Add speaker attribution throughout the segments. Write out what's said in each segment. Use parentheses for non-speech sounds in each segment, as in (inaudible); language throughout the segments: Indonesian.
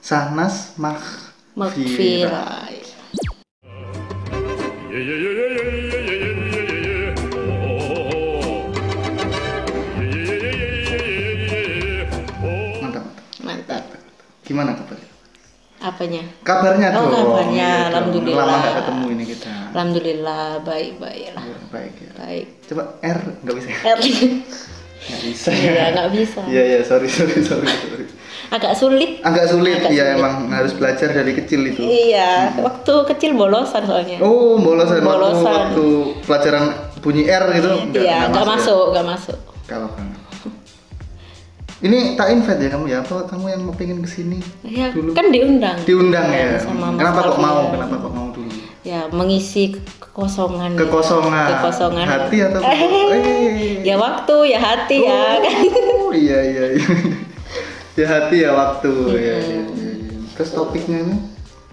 Speaker 1: Sahnas Maghfira.
Speaker 2: Makfira.
Speaker 3: Yeah, yeah, yeah, yeah, yeah, yeah, yeah, yeah, yeah, yeah, yeah. Oh, oh, oh. Yeah, yeah, yeah, yeah, yeah, yeah, yeah, yeah, yeah. Oh.
Speaker 1: Mantap, mantap.
Speaker 2: Mantap.
Speaker 1: Gimana kabarnya?
Speaker 2: Apanya?
Speaker 1: Kabarnya
Speaker 2: Oh,
Speaker 1: dong.
Speaker 2: kabarnya.
Speaker 1: Iya dong.
Speaker 2: Alhamdulillah.
Speaker 1: Lama nggak ketemu ini kita.
Speaker 2: Alhamdulillah baik-baik lah.
Speaker 1: Ya, Baik ya.
Speaker 2: Baik. (laughs)
Speaker 1: Coba R nggak bisa. ya?
Speaker 2: Er,
Speaker 1: Nggak bisa.
Speaker 2: Iya, nggak bisa.
Speaker 1: Iya iya sorry sorry sorry. sorry.
Speaker 2: Agak sulit.
Speaker 1: Agak sulit
Speaker 2: Agak
Speaker 1: ya
Speaker 2: sulit.
Speaker 1: emang harus belajar dari kecil itu.
Speaker 2: Iya, waktu kecil bolosan soalnya.
Speaker 1: Oh bolosan, Waktu,
Speaker 2: Bolosan.
Speaker 1: waktu pelajaran bunyi R gitu nggak-
Speaker 2: iya,
Speaker 1: nggak
Speaker 2: nggak
Speaker 1: ya?
Speaker 2: masuk, nggak masuk.
Speaker 1: Kalau kamu. Ini tak invite ya kamu ya apa kamu yang mau pengen kesini
Speaker 2: Ya,
Speaker 1: dulu
Speaker 2: kan diundang. Iya,
Speaker 1: diundang ya.
Speaker 2: Sama Mas
Speaker 1: Kenapa kok
Speaker 2: Alfian.
Speaker 1: mau? Kenapa kok mau dulu?
Speaker 2: Ya, mengisi ke- kekosongan. ya.
Speaker 1: Kekosongan.
Speaker 2: Kekosongan.
Speaker 1: Hati
Speaker 2: (laughs)
Speaker 1: atau? Eh.
Speaker 2: Ya waktu, ya hati ya. Kan?
Speaker 1: Oh iya iya iya. ya hati ya waktu
Speaker 2: Iya.
Speaker 1: ya, ya, ya, ya. terus topiknya ini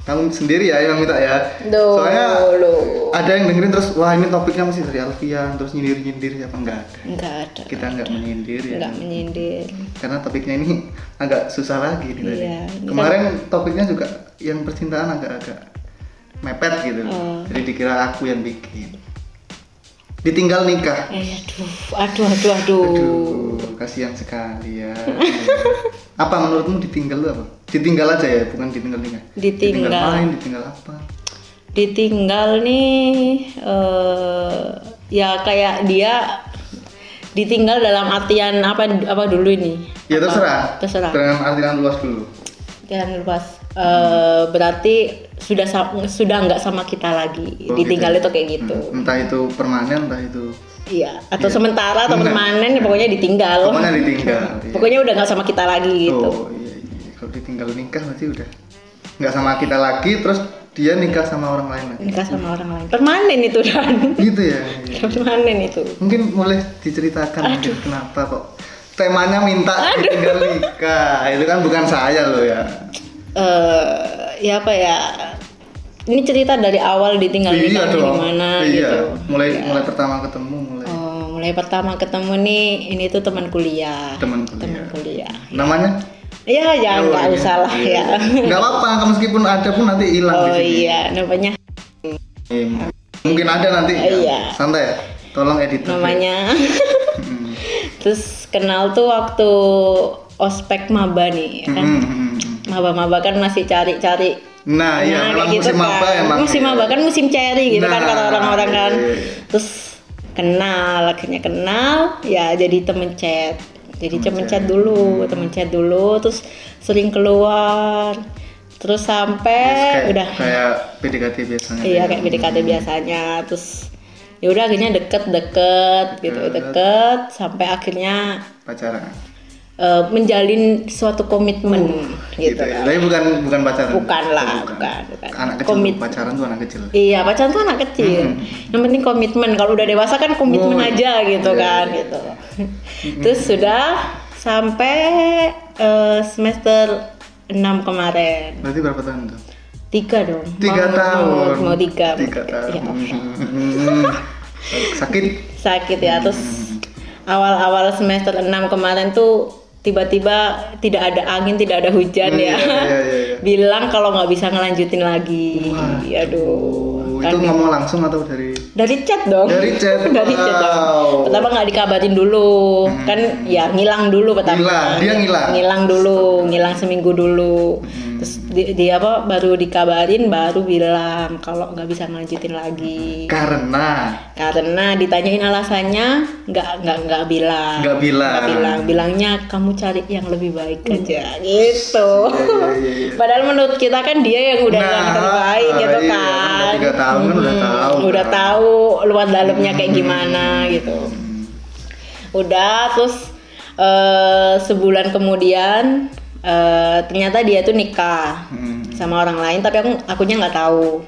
Speaker 1: kamu sendiri ya yang minta ya
Speaker 2: Duh,
Speaker 1: soalnya
Speaker 2: lu.
Speaker 1: ada yang dengerin terus wah ini topiknya masih dari Alfian terus nyindir nyindir apa enggak ada
Speaker 2: Nggak ada.
Speaker 1: kita nggak menyindir ya
Speaker 2: Nggak menyindir.
Speaker 1: karena topiknya ini agak susah lagi nih tadi.
Speaker 2: Iya, ini
Speaker 1: kemarin topiknya juga yang percintaan agak-agak mepet gitu loh.
Speaker 2: Oh.
Speaker 1: jadi dikira aku yang bikin ditinggal nikah
Speaker 2: Eh, aduh, aduh, aduh, aduh.
Speaker 1: Aduh, kasihan sekali
Speaker 2: (laughs)
Speaker 1: ya. apa menurutmu ditinggal tuh apa? Ditinggal aja ya, bukan ditinggal nikah.
Speaker 2: Ditinggal.
Speaker 1: main, ditinggal apa?
Speaker 2: Ditinggal nih, eh ya kayak dia ditinggal dalam artian apa apa dulu ini?
Speaker 1: Ya
Speaker 2: Apa?
Speaker 1: terserah.
Speaker 2: Terserah.
Speaker 1: Dengan artian luas dulu.
Speaker 2: Jangan lupas. Eh, berarti sudah sa- sudah nggak sama kita lagi.
Speaker 1: Oh,
Speaker 2: ditinggal
Speaker 1: gitu.
Speaker 2: itu kayak gitu.
Speaker 1: Hmm, Entah itu permanen, entah itu
Speaker 2: Iya. Atau
Speaker 1: Iya.
Speaker 2: sementara atau
Speaker 1: Nah.
Speaker 2: permanen, ya pokoknya ditinggal.
Speaker 1: pokoknya
Speaker 2: (laughs)
Speaker 1: ditinggal. iya.
Speaker 2: Pokoknya udah nggak sama kita lagi gitu.
Speaker 1: Oh, iya, iya. Kalau ditinggal nikah berarti udah nggak sama kita lagi, terus dia nikah sama orang lain lagi.
Speaker 2: Nikah sama orang lain. Permanen itu dan (laughs)
Speaker 1: Gitu ya. iya.
Speaker 2: permanen itu.
Speaker 1: Mungkin boleh diceritakan mungkin kenapa kok temanya minta ditinggal nikah. Itu kan bukan saya loh ya.
Speaker 2: eh ya apa ya? Ini cerita dari awal ditinggal
Speaker 1: iya
Speaker 2: nikahnya
Speaker 1: dong.
Speaker 2: gimana
Speaker 1: iya.
Speaker 2: gitu.
Speaker 1: Mulai mulai pertama ketemu mulai
Speaker 2: Oh, mulai pertama ketemu nih, ini tuh teman kuliah.
Speaker 1: teman kuliah.
Speaker 2: Teman kuliah.
Speaker 1: Namanya?
Speaker 2: Ya, ya
Speaker 1: Oh,
Speaker 2: nggak
Speaker 1: iya.
Speaker 2: usah lah
Speaker 1: Iya.
Speaker 2: ya.
Speaker 1: Nggak apa-apa, kamu meskipun ada pun nanti hilang di
Speaker 2: Oh
Speaker 1: sini.
Speaker 2: iya, namanya
Speaker 1: Em, Mungkin ada nanti. ya.
Speaker 2: Iya.
Speaker 1: Santai. Tolong edit. dulu.
Speaker 2: namanya.
Speaker 1: Mm,
Speaker 2: Terus kenal tuh waktu ospek maba nih,
Speaker 1: mm,
Speaker 2: kan
Speaker 1: mm, mm, mm.
Speaker 2: maba-maba kan masih cari-cari.
Speaker 1: Nah, iya,
Speaker 2: kayak
Speaker 1: memang musim apa
Speaker 2: kan.
Speaker 1: emang.
Speaker 2: Musim maba kan musim cari gitu kan
Speaker 1: Nah,
Speaker 2: kata orang-orang kan.
Speaker 1: iya, iya.
Speaker 2: Terus kenal, akhirnya kenal, ya jadi temen chat. Jadi temen chat
Speaker 1: Hmm.
Speaker 2: dulu, temen chat dulu, terus sering keluar. Terus sampai
Speaker 1: Kayak, (laughs)
Speaker 2: udah
Speaker 1: kayak PDKT biasanya.
Speaker 2: Iya kayak PDKT biasanya terus ya udah akhirnya deket-deket gitu
Speaker 1: Deket.
Speaker 2: deket sampai akhirnya
Speaker 1: pacaran.
Speaker 2: eh, menjalin suatu komitmen gitu.
Speaker 1: ya. Tapi bukan bukan pacaran.
Speaker 2: Bukan lah,
Speaker 1: Bukan.
Speaker 2: bukan, bukan.
Speaker 1: Anak kecil
Speaker 2: Komit.
Speaker 1: pacaran tuh anak kecil.
Speaker 2: Iya pacaran tuh anak kecil.
Speaker 1: Hmm.
Speaker 2: Yang penting komitmen. Kalau udah dewasa kan komitmen
Speaker 1: Oh,
Speaker 2: aja gitu
Speaker 1: iya,
Speaker 2: kan
Speaker 1: iya.
Speaker 2: gitu. terus sudah sampai eh, semester 6 kemarin
Speaker 1: Berarti berapa tahun tuh?
Speaker 2: tiga dong
Speaker 1: tiga
Speaker 2: Mau-
Speaker 1: tahun
Speaker 2: mau, mau tiga
Speaker 1: tiga
Speaker 2: Iya.
Speaker 1: tahun
Speaker 2: (laughs)
Speaker 1: Hmm. sakit
Speaker 2: sakit ya terus
Speaker 1: Hmm.
Speaker 2: awal-awal semester 6 kemarin tuh tiba-tiba tidak ada angin tidak ada hujan
Speaker 1: Hmm,
Speaker 2: ya
Speaker 1: iya, iya, iya, iya.
Speaker 2: (laughs) bilang kalau nggak bisa ngelanjutin lagi
Speaker 1: Oh,
Speaker 2: Iya, aduh
Speaker 1: itu
Speaker 2: kan
Speaker 1: ngomong langsung atau dari
Speaker 2: dari chat dong
Speaker 1: Dari chat,
Speaker 2: (laughs) dari chat
Speaker 1: wow. Hmm.
Speaker 2: dong pertama nggak dikabarin dulu kan ya ngilang dulu pertama
Speaker 1: Ngilang, dia ngilang. Hmm.
Speaker 2: dulu ngilang seminggu dulu terus di- dia apa baru dikabarin baru bilang kalau nggak bisa ngelanjutin lagi
Speaker 1: karena
Speaker 2: karena ditanyain alasannya nggak nggak nggak bilang
Speaker 1: Nggak bilang. Hmm.
Speaker 2: bilang bilangnya kamu cari yang lebih baik aja gitu
Speaker 1: iya, iya. Nah,
Speaker 2: padahal menurut kita kan dia yang udah yang terbaik gitu
Speaker 1: iya,
Speaker 2: kan
Speaker 1: udah tiga tahun kan udah
Speaker 2: Hmm,
Speaker 1: tahu
Speaker 2: udah
Speaker 1: kan. Hmm.
Speaker 2: tahu luar dalamnya kayak gimana gitu udah terus eh, sebulan kemudian eh, ternyata dia tuh nikah
Speaker 1: Hmm.
Speaker 2: sama orang lain tapi aku akunya nggak tahu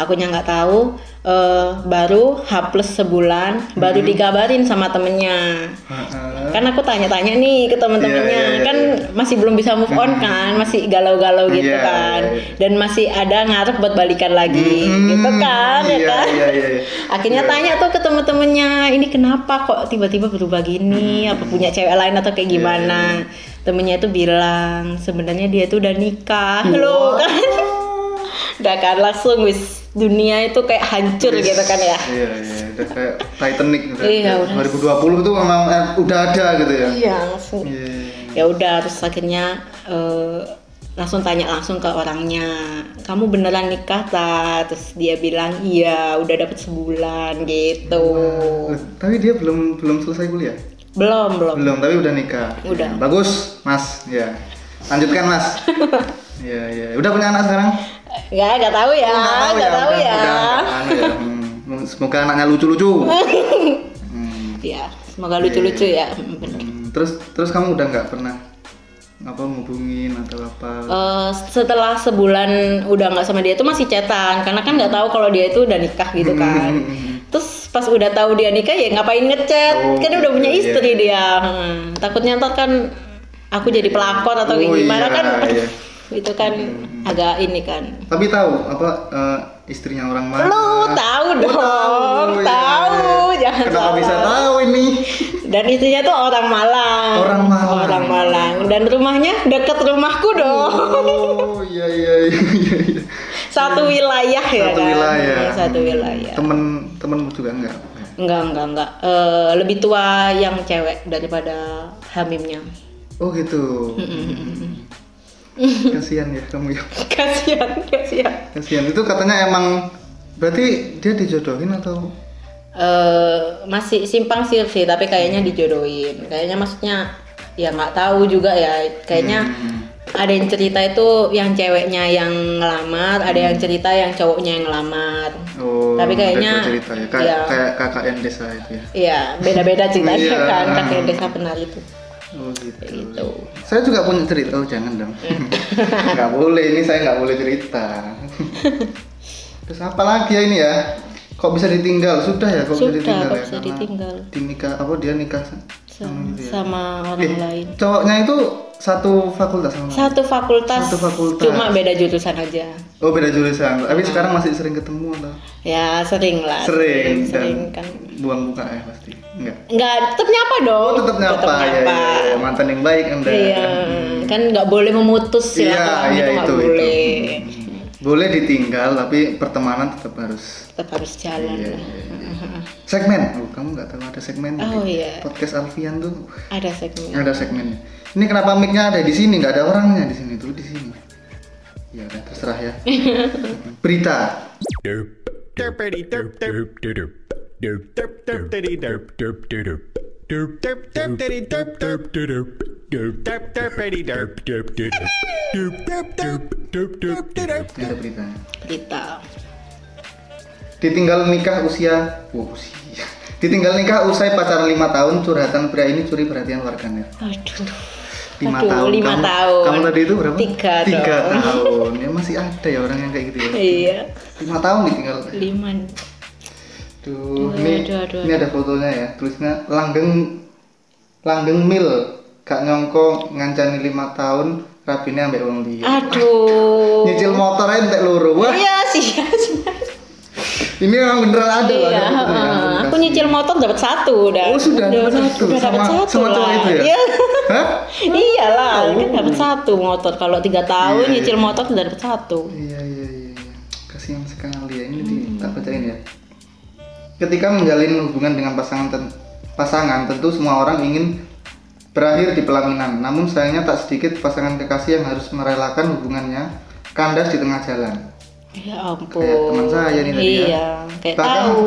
Speaker 2: akunya nggak tahu eh, baru H plus sebulan baru dikabarin sama temennya
Speaker 1: Heeh.
Speaker 2: kan aku tanya-tanya nih ke temen-temennya
Speaker 1: Iya, iya, iya.
Speaker 2: kan masih belum bisa move on kan masih galau-galau gitu
Speaker 1: Iya,
Speaker 2: kan
Speaker 1: iya, iya.
Speaker 2: dan masih ada ngarep buat balikan lagi
Speaker 1: Hmm,
Speaker 2: gitu kan
Speaker 1: iya,
Speaker 2: ya kan
Speaker 1: iya, iya, iya.
Speaker 2: akhirnya
Speaker 1: Iya.
Speaker 2: tanya tuh ke
Speaker 1: Iya,
Speaker 2: temen-temennya ini kenapa kok tiba-tiba berubah gini apa punya cewek lain atau kayak gimana temennya tuh bilang sebenarnya dia tuh udah nikah loh kan (laughs) udah kan langsung wis dunia itu kayak hancur
Speaker 1: Yes.
Speaker 2: gitu kan ya
Speaker 1: Iya, iya, udah kayak Titanic gitu.
Speaker 2: Iya, udah.
Speaker 1: 2020 tuh memang eh, udah ada gitu ya.
Speaker 2: iya langsung
Speaker 1: Iya.
Speaker 2: ya udah terus akhirnya eh, langsung tanya langsung ke orangnya kamu beneran nikah tak terus dia bilang iya udah dapet sebulan gitu
Speaker 1: Wah, Tapi dia belum belum selesai kuliah.
Speaker 2: belum belum
Speaker 1: Belum, tapi udah nikah.
Speaker 2: Udah.
Speaker 1: Ya, Bagus, Mas. Ya. Lanjutkan,
Speaker 2: (laughs)
Speaker 1: Mas. Iya, iya. Udah punya anak sekarang?
Speaker 2: nggak nggak tahu ya
Speaker 1: Nggak
Speaker 2: nggak tahu
Speaker 1: udah-
Speaker 2: ya
Speaker 1: udah- udah anu ya. Hmm, Semoga anaknya
Speaker 2: (laughs)
Speaker 1: lucu-lucu. Hmm.
Speaker 2: ya semoga lucu-lucu ya bener.
Speaker 1: Hmm, Terus terus kamu udah nggak pernah apa ngubungin atau apa?
Speaker 2: Eh, setelah sebulan udah nggak sama dia tuh masih cetan karena kan nggak tahu kalau dia itu udah nikah gitu
Speaker 1: Hmm,
Speaker 2: kan terus pas udah tahu dia nikah ya ngapain ngechat
Speaker 1: Oh,
Speaker 2: kan udah punya
Speaker 1: iya.
Speaker 2: istri dia Hmm, takutnya ntar kan aku jadi pelakon atau
Speaker 1: Oh,
Speaker 2: kayak gimana
Speaker 1: iya,
Speaker 2: kan (laughs)
Speaker 1: iya.
Speaker 2: itu kan agak ini kan
Speaker 1: Tapi tahu apa eh, istrinya orang mana?
Speaker 2: lu tahu dong
Speaker 1: iya,
Speaker 2: tahu
Speaker 1: iya.
Speaker 2: jangan
Speaker 1: Kenapa
Speaker 2: salah.
Speaker 1: bisa tahu ini?
Speaker 2: dan istrinya tuh orang Malang
Speaker 1: Orang Malang.
Speaker 2: orang Malang dan rumahnya deket rumahku dong
Speaker 1: Oh iya iya iya. iya.
Speaker 2: (laughs) satu wilayah ya
Speaker 1: Satu
Speaker 2: kan?
Speaker 1: wilayah. Hmm.
Speaker 2: Iya, satu wilayah
Speaker 1: Temen temenmu juga enggak?
Speaker 2: enggak enggak enggak Eh, lebih tua yang cewek daripada
Speaker 1: (laughs)
Speaker 2: Hamimnya
Speaker 1: Oh gitu. Kasihan ya kamu ya.
Speaker 2: kasihan kasihan
Speaker 1: Kasihan. Itu katanya emang berarti dia dijodohin atau
Speaker 2: eh masih simpang siur sih tapi
Speaker 1: Hmm.
Speaker 2: kayaknya dijodohin kayaknya maksudnya ya nggak tahu juga ya kayaknya
Speaker 1: Hmm,
Speaker 2: ada yang cerita itu yang ceweknya yang ngelamar ada
Speaker 1: Hmm.
Speaker 2: yang cerita yang cowoknya yang ngelamar
Speaker 1: Oh,
Speaker 2: Tapi kayaknya-
Speaker 1: ada dua cerita ya. Kayak,
Speaker 2: iya.
Speaker 1: kayak KKN desa itu ya.
Speaker 2: Iya,
Speaker 1: (laughs)
Speaker 2: beda-beda ceritanya
Speaker 1: Iya.
Speaker 2: kan kakek desa benar itu.
Speaker 1: Oh gitu.
Speaker 2: Gitu.
Speaker 1: Saya juga punya cerita. Oh jangan
Speaker 2: (laughs)
Speaker 1: dong. nggak boleh ini saya nggak boleh cerita. Terus apa lagi ya ini ya? Kok bisa ditinggal? Sudah ya kok
Speaker 2: Sudah,
Speaker 1: bisa ditinggal
Speaker 2: kok
Speaker 1: ya?
Speaker 2: bisa
Speaker 1: Karena
Speaker 2: ditinggal.
Speaker 1: dinikah- apa dia nikah sa-
Speaker 2: Sama,
Speaker 1: gitu ya?
Speaker 2: sama orang
Speaker 1: Eh,
Speaker 2: lain.
Speaker 1: Cowoknya itu satu fakultas sama. kamu?
Speaker 2: Satu fakultas,
Speaker 1: Satu fakultas.
Speaker 2: cuma beda jurusan aja.
Speaker 1: Oh beda jurusan. Tapi sekarang masih sering ketemu atau?
Speaker 2: Ya sering lah.
Speaker 1: Sering, dan
Speaker 2: sering kan.
Speaker 1: buang muka ya pasti. Enggak.
Speaker 2: Nggak, tetap nyapa dong.
Speaker 1: Oh, tetap nyapa, ya,
Speaker 2: nyapa.
Speaker 1: ya, ya. mantan yang baik anda. Hmm.
Speaker 2: Iya, kan nggak boleh memutus
Speaker 1: Iya, iya
Speaker 2: silaturahmi itu gitu nggak
Speaker 1: itu,
Speaker 2: boleh.
Speaker 1: itu. Boleh ditinggal tapi pertemanan tetap harus.
Speaker 2: Tetap harus jalan.
Speaker 1: Iya,
Speaker 2: lah.
Speaker 1: iya, iya. Segmen. Oh, kamu nggak tahu ada segmen.
Speaker 2: Oh,
Speaker 1: di
Speaker 2: iya.
Speaker 1: Podcast Alfian tuh
Speaker 2: Ada segmen.
Speaker 1: ada segmennya. Ini kenapa mic-nya ada di sini? Nggak ada orangnya di sini tuh di sini. Ya udah terserah
Speaker 2: (laughs)
Speaker 1: ya. Berita.
Speaker 4: Derp. Derpity derp derp derp derp derp derp diddy derp derp derp derp derp derp diddy derp derp derp derp derp derpity derp derp derp derp derp derp derp derp derp
Speaker 1: Ini ada beritanya.
Speaker 2: Berita.
Speaker 1: Ditinggal nikah usia. Wah, usia. Ditinggal nikah usai pacaran lima tahun, curhatan pria ini curi perhatian warganet.
Speaker 2: Aduh.
Speaker 1: lima
Speaker 2: Aduh,
Speaker 1: tahun.
Speaker 2: lima
Speaker 1: kamu,
Speaker 2: tahun.
Speaker 1: kamu tadi itu berapa?
Speaker 2: Tiga
Speaker 1: Tiga
Speaker 2: dong.
Speaker 1: tahun. Ya masih ada ya orang yang kayak gitu ya.
Speaker 2: Iya.
Speaker 1: Lima tahun ditinggal.
Speaker 2: Lima.
Speaker 1: Duh,
Speaker 2: Aduh,
Speaker 1: ini,
Speaker 2: aduh, aduh,
Speaker 1: ini ada fotonya ya. Tulisnya langgeng langgeng mil. Kak nyongko ngancani lima tahun rabine ambek wong liya.
Speaker 2: Aduh.
Speaker 1: Iya. Nyicil motor aja entek loro. Wah,
Speaker 2: Iya sih. iya sih.
Speaker 1: ini memang beneran ada loh,
Speaker 2: Iya,
Speaker 1: ada fotonya.
Speaker 2: heeh. aku
Speaker 1: Kasih.
Speaker 2: nyicil motor dapat satu udah.
Speaker 1: ya, Oh, sudah dapat satu.
Speaker 2: Sudah dapat
Speaker 1: Sama-
Speaker 2: satu
Speaker 1: sama cowok
Speaker 2: lah.
Speaker 1: itu ya?
Speaker 2: Iya.
Speaker 1: Hah?
Speaker 2: Iyalah, kan dapat satu motor. Kalau tiga tahun
Speaker 1: Iya,
Speaker 2: nyicil
Speaker 1: iya.
Speaker 2: motor sudah dapat satu.
Speaker 1: Iya iya iya. iya. Kasihan sekali ya ini di, tak bacain ya. Ketika menjalin hubungan dengan pasangan ten- pasangan tentu semua orang ingin berakhir di pelaminan. Namun sayangnya tak sedikit pasangan kekasih yang harus merelakan hubungannya kandas di tengah jalan.
Speaker 2: Ya ampun.
Speaker 1: Kayak teman saya ini tadi ya.
Speaker 2: Iya, kayak
Speaker 1: (laughs)
Speaker 2: tahu.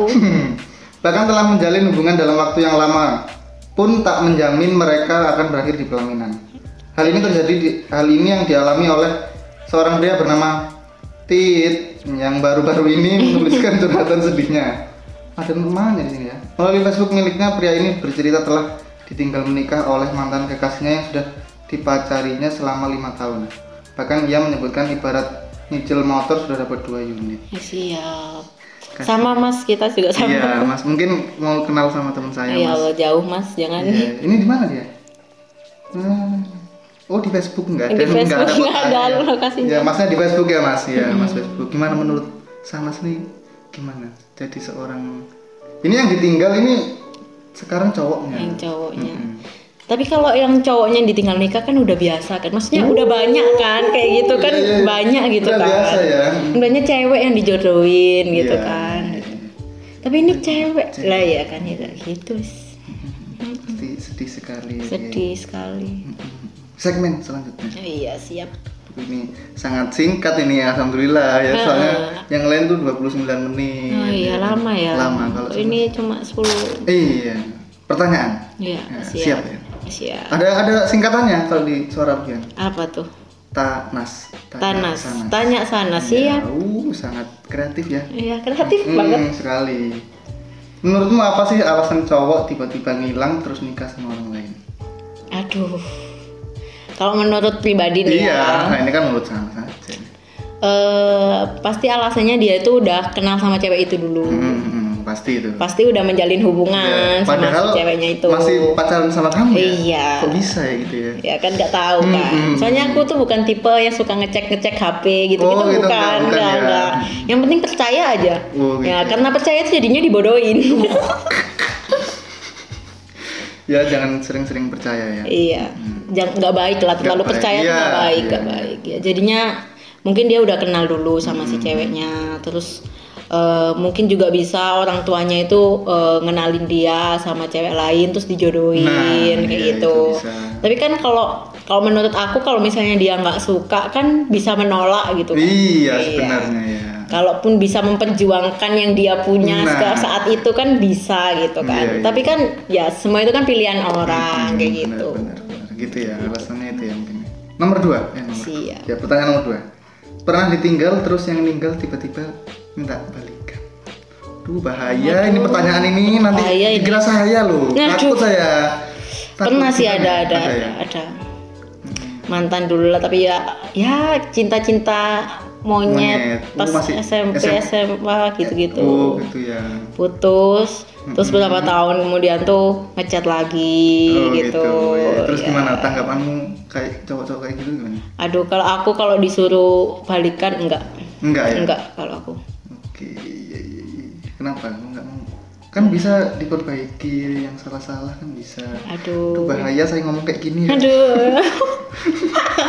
Speaker 1: bahkan telah menjalin hubungan dalam waktu yang lama pun tak menjamin mereka akan berakhir di pelaminan. Hal ini terjadi di, hal ini yang dialami oleh seorang pria bernama Tit yang baru-baru ini menuliskan curhatan sedihnya. Ada temannya di sini ya. Melalui Facebook miliknya pria ini bercerita telah ditinggal menikah oleh mantan kekasihnya yang sudah dipacarinya selama lima tahun. Bahkan ia menyebutkan ibarat nyicil motor sudah dapat dua unit.
Speaker 2: Ya, Siap. Sama Mas kita juga sama.
Speaker 1: Iya, Mas. Mungkin mau kenal sama teman saya,
Speaker 2: (laughs) Ya
Speaker 1: Mas.
Speaker 2: Allah jauh Mas, jangan.
Speaker 1: Iya. Ini di mana dia? Hmm. Oh, di Facebook enggak
Speaker 2: Di Facebook
Speaker 1: ada
Speaker 2: nggak ada
Speaker 1: kotanya.
Speaker 2: lokasinya.
Speaker 1: Ya, Masnya di Facebook ya, Mas. Ya, Mas Facebook. Gimana menurut Sanas nih? Gimana? Jadi seorang Ini yang ditinggal ini sekarang cowoknya.
Speaker 2: Yang cowoknya. Tapi kalau yang cowoknya yang ditinggal nikah kan udah biasa kan. Maksudnya udah banyak kan kayak gitu kan
Speaker 1: Uh. Iya, iya.
Speaker 2: banyak gitu
Speaker 1: Udah
Speaker 2: kan.
Speaker 1: biasa ya.
Speaker 2: Banyak cewek yang dijodohin gitu
Speaker 1: Iya.
Speaker 2: kan. Tapi ini cewek lah ya kan ya gitu.
Speaker 1: Iya.
Speaker 2: sih.
Speaker 1: Sedih, sedih sekali.
Speaker 2: Sedih sekali.
Speaker 1: Segmen selanjutnya.
Speaker 2: Oh, iya, siap.
Speaker 1: Ini sangat singkat ini ya, alhamdulillah ya.
Speaker 2: Ah.
Speaker 1: Soalnya yang lain tuh 29 menit.
Speaker 2: Oh iya, lama ya.
Speaker 1: Lama kalau
Speaker 2: ini cuma 10.
Speaker 1: Iya. Pertanyaan.
Speaker 2: Iya,
Speaker 1: Ya, siap
Speaker 2: siap.
Speaker 1: ya.
Speaker 2: Siap.
Speaker 1: Ada ada singkatannya kalau di suara pian.
Speaker 2: Apa tuh?
Speaker 1: Tanas.
Speaker 2: Tanas.
Speaker 1: Sanas.
Speaker 2: Tanya
Speaker 1: Ya,
Speaker 2: sana, siap.
Speaker 1: uh, sangat kreatif ya.
Speaker 2: Iya, kreatif
Speaker 1: Hmm,
Speaker 2: banget.
Speaker 1: sekali. Menurutmu apa sih alasan cowok tiba-tiba ngilang terus nikah sama orang lain?
Speaker 2: Aduh. Kalau menurut pribadi nih
Speaker 1: Iya,
Speaker 2: ya.
Speaker 1: nah ini kan menurut sama saja.
Speaker 2: eh pasti alasannya dia itu udah kenal sama cewek itu dulu.
Speaker 1: Hmm, hmm, pasti itu.
Speaker 2: Pasti udah menjalin hubungan
Speaker 1: Ya,
Speaker 2: Nah, sama si ceweknya itu.
Speaker 1: masih pacaran sama kamu ya?
Speaker 2: Iya.
Speaker 1: Kok bisa ya gitu ya?
Speaker 2: Ya kan nggak tahu
Speaker 1: Hmm,
Speaker 2: kan.
Speaker 1: hmm,
Speaker 2: Soalnya aku tuh bukan tipe yang suka ngecek-ngecek HP gitu-gitu
Speaker 1: Oh, gitu,
Speaker 2: bukan,
Speaker 1: enggak, bukan
Speaker 2: enggak,
Speaker 1: ya.
Speaker 2: enggak. Yang penting percaya aja.
Speaker 1: Oh, gitu.
Speaker 2: Ya, karena percaya itu jadinya
Speaker 1: (laughs)
Speaker 2: dibodohin.
Speaker 1: Ya jangan sering-sering percaya ya.
Speaker 2: iya. Jangan nggak baik lah terlalu
Speaker 1: Nggak baik,
Speaker 2: percaya tuh
Speaker 1: iya,
Speaker 2: nggak baik,
Speaker 1: iya,
Speaker 2: nggak
Speaker 1: iya.
Speaker 2: baik. Ya jadinya mungkin dia udah kenal dulu sama
Speaker 1: Hmm.
Speaker 2: si ceweknya terus eh, mungkin juga bisa orang tuanya itu eh, ngenalin dia sama cewek lain terus dijodohin
Speaker 1: Nah,
Speaker 2: kayak
Speaker 1: iya,
Speaker 2: gitu.
Speaker 1: itu bisa.
Speaker 2: Tapi kan kalau kalau menurut aku kalau misalnya dia nggak suka kan bisa menolak gitu. Kan?
Speaker 1: Iya sebenarnya ya.
Speaker 2: Kalaupun bisa memperjuangkan yang dia punya
Speaker 1: Nah.
Speaker 2: sekarang saat itu kan bisa gitu
Speaker 1: Iya,
Speaker 2: kan.
Speaker 1: iya.
Speaker 2: Tapi kan ya semua itu kan pilihan
Speaker 1: Hmm,
Speaker 2: orang kayak
Speaker 1: benar,
Speaker 2: gitu.
Speaker 1: Benar, benar. Gitu ya alasannya itu yang penting. Nomor dua. Ya, nomor dua.
Speaker 2: Siap.
Speaker 1: Ya pertanyaan nomor dua. Pernah ditinggal terus yang ninggal tiba-tiba minta balikan. Duh bahaya ini pertanyaan ini nanti
Speaker 2: bahaya ini.
Speaker 1: dikira saya loh.
Speaker 2: Nah,
Speaker 1: Takut
Speaker 2: aduh.
Speaker 1: saya. Takut
Speaker 2: Pernah sih
Speaker 1: gimana?
Speaker 2: ada ada ada,
Speaker 1: ya?
Speaker 2: ada. Mantan dulu lah tapi ya ya cinta-cinta
Speaker 1: Monyet.
Speaker 2: monyet,
Speaker 1: Oh,
Speaker 2: pas
Speaker 1: masih
Speaker 2: SMP,
Speaker 1: SM.
Speaker 2: SMA gitu-gitu.
Speaker 1: Oh gitu ya.
Speaker 2: Putus, terus beberapa tahun kemudian tuh ngechat lagi
Speaker 1: Oh,
Speaker 2: gitu.
Speaker 1: ya. Terus
Speaker 2: Ya.
Speaker 1: gimana tanggapanmu kayak cowok-cowok kayak gitu gimana?
Speaker 2: Aduh, kalau aku kalau disuruh balikan enggak.
Speaker 1: Enggak ya.
Speaker 2: Enggak kalau aku.
Speaker 1: Oke, iya iya iya. Kenapa kamu nggak mau? Kan bisa diperbaiki yang salah-salah kan bisa. Aduh
Speaker 2: Aduh.
Speaker 1: bahaya saya ngomong kayak gini. ya.
Speaker 2: Aduh. (laughs)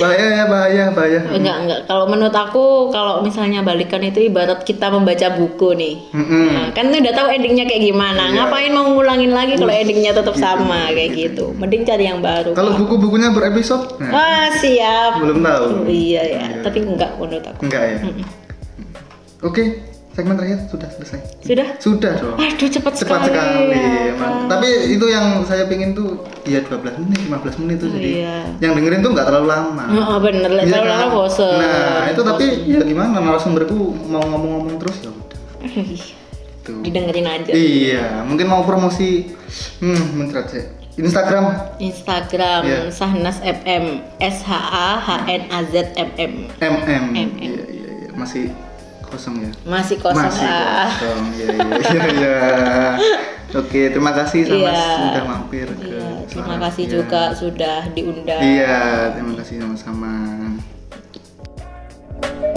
Speaker 1: Bahaya ya bahaya bahaya.
Speaker 2: enggak, enggak. Kalau menurut aku kalau misalnya balikan itu ibarat kita membaca buku nih.
Speaker 1: Mm-mm.
Speaker 2: Nah, kan udah tahu endingnya kayak gimana.
Speaker 1: Hmm. Iya.
Speaker 2: Ngapain mau ngulangin lagi kalau endingnya tetap
Speaker 1: gitu,
Speaker 2: sama
Speaker 1: gitu,
Speaker 2: kayak
Speaker 1: gitu.
Speaker 2: gitu. Mending cari yang baru.
Speaker 1: Kalau buku-bukunya berepisode, nah,
Speaker 2: Wah, siap.
Speaker 1: belum tahu.
Speaker 2: Ah. Iya ya,
Speaker 1: Iya.
Speaker 2: tapi enggak menurut aku.
Speaker 1: enggak ya.
Speaker 2: Mm-mm.
Speaker 1: Oke, segmen terakhir sudah selesai.
Speaker 2: Sudah?
Speaker 1: Sudah dong.
Speaker 2: Aduh, cepat,
Speaker 1: Cepat sekali. iya,
Speaker 2: sekali. ya
Speaker 1: emang.
Speaker 2: kan.
Speaker 1: Tapi itu yang saya pingin tuh ya 12 menit, 15 menit tuh
Speaker 2: Oh,
Speaker 1: jadi
Speaker 2: iya.
Speaker 1: yang dengerin tuh nggak terlalu lama.
Speaker 2: Heeh, bener lah.
Speaker 1: Iya
Speaker 2: Terlalu
Speaker 1: kan?
Speaker 2: lama bosen.
Speaker 1: Nah, itu tapi
Speaker 2: Bosen.
Speaker 1: ya gimana narasumberku mau ngomong-ngomong terus ya udah.
Speaker 2: Aduh, ih.
Speaker 1: Tuh.
Speaker 2: (laughs) didengerin aja.
Speaker 1: Iya, mungkin mau promosi hmm, muncrat sih. Instagram
Speaker 2: Instagram
Speaker 1: Iya.
Speaker 2: Sahnas FM S H A H N A Z M M
Speaker 1: MM.
Speaker 2: MM.
Speaker 1: Iya, iya, iya. Masih kosong ya.
Speaker 2: masih kosong
Speaker 1: Masih
Speaker 2: ah.
Speaker 1: kosong. Iya, iya, iya, iya.
Speaker 2: (laughs)
Speaker 1: Oke, terima kasih sama
Speaker 2: Iya.
Speaker 1: sudah mampir ke
Speaker 2: Iya, terima
Speaker 1: Selarang.
Speaker 2: kasih
Speaker 1: Iya.
Speaker 2: juga sudah diundang.
Speaker 1: Iya, terima kasih sama-sama.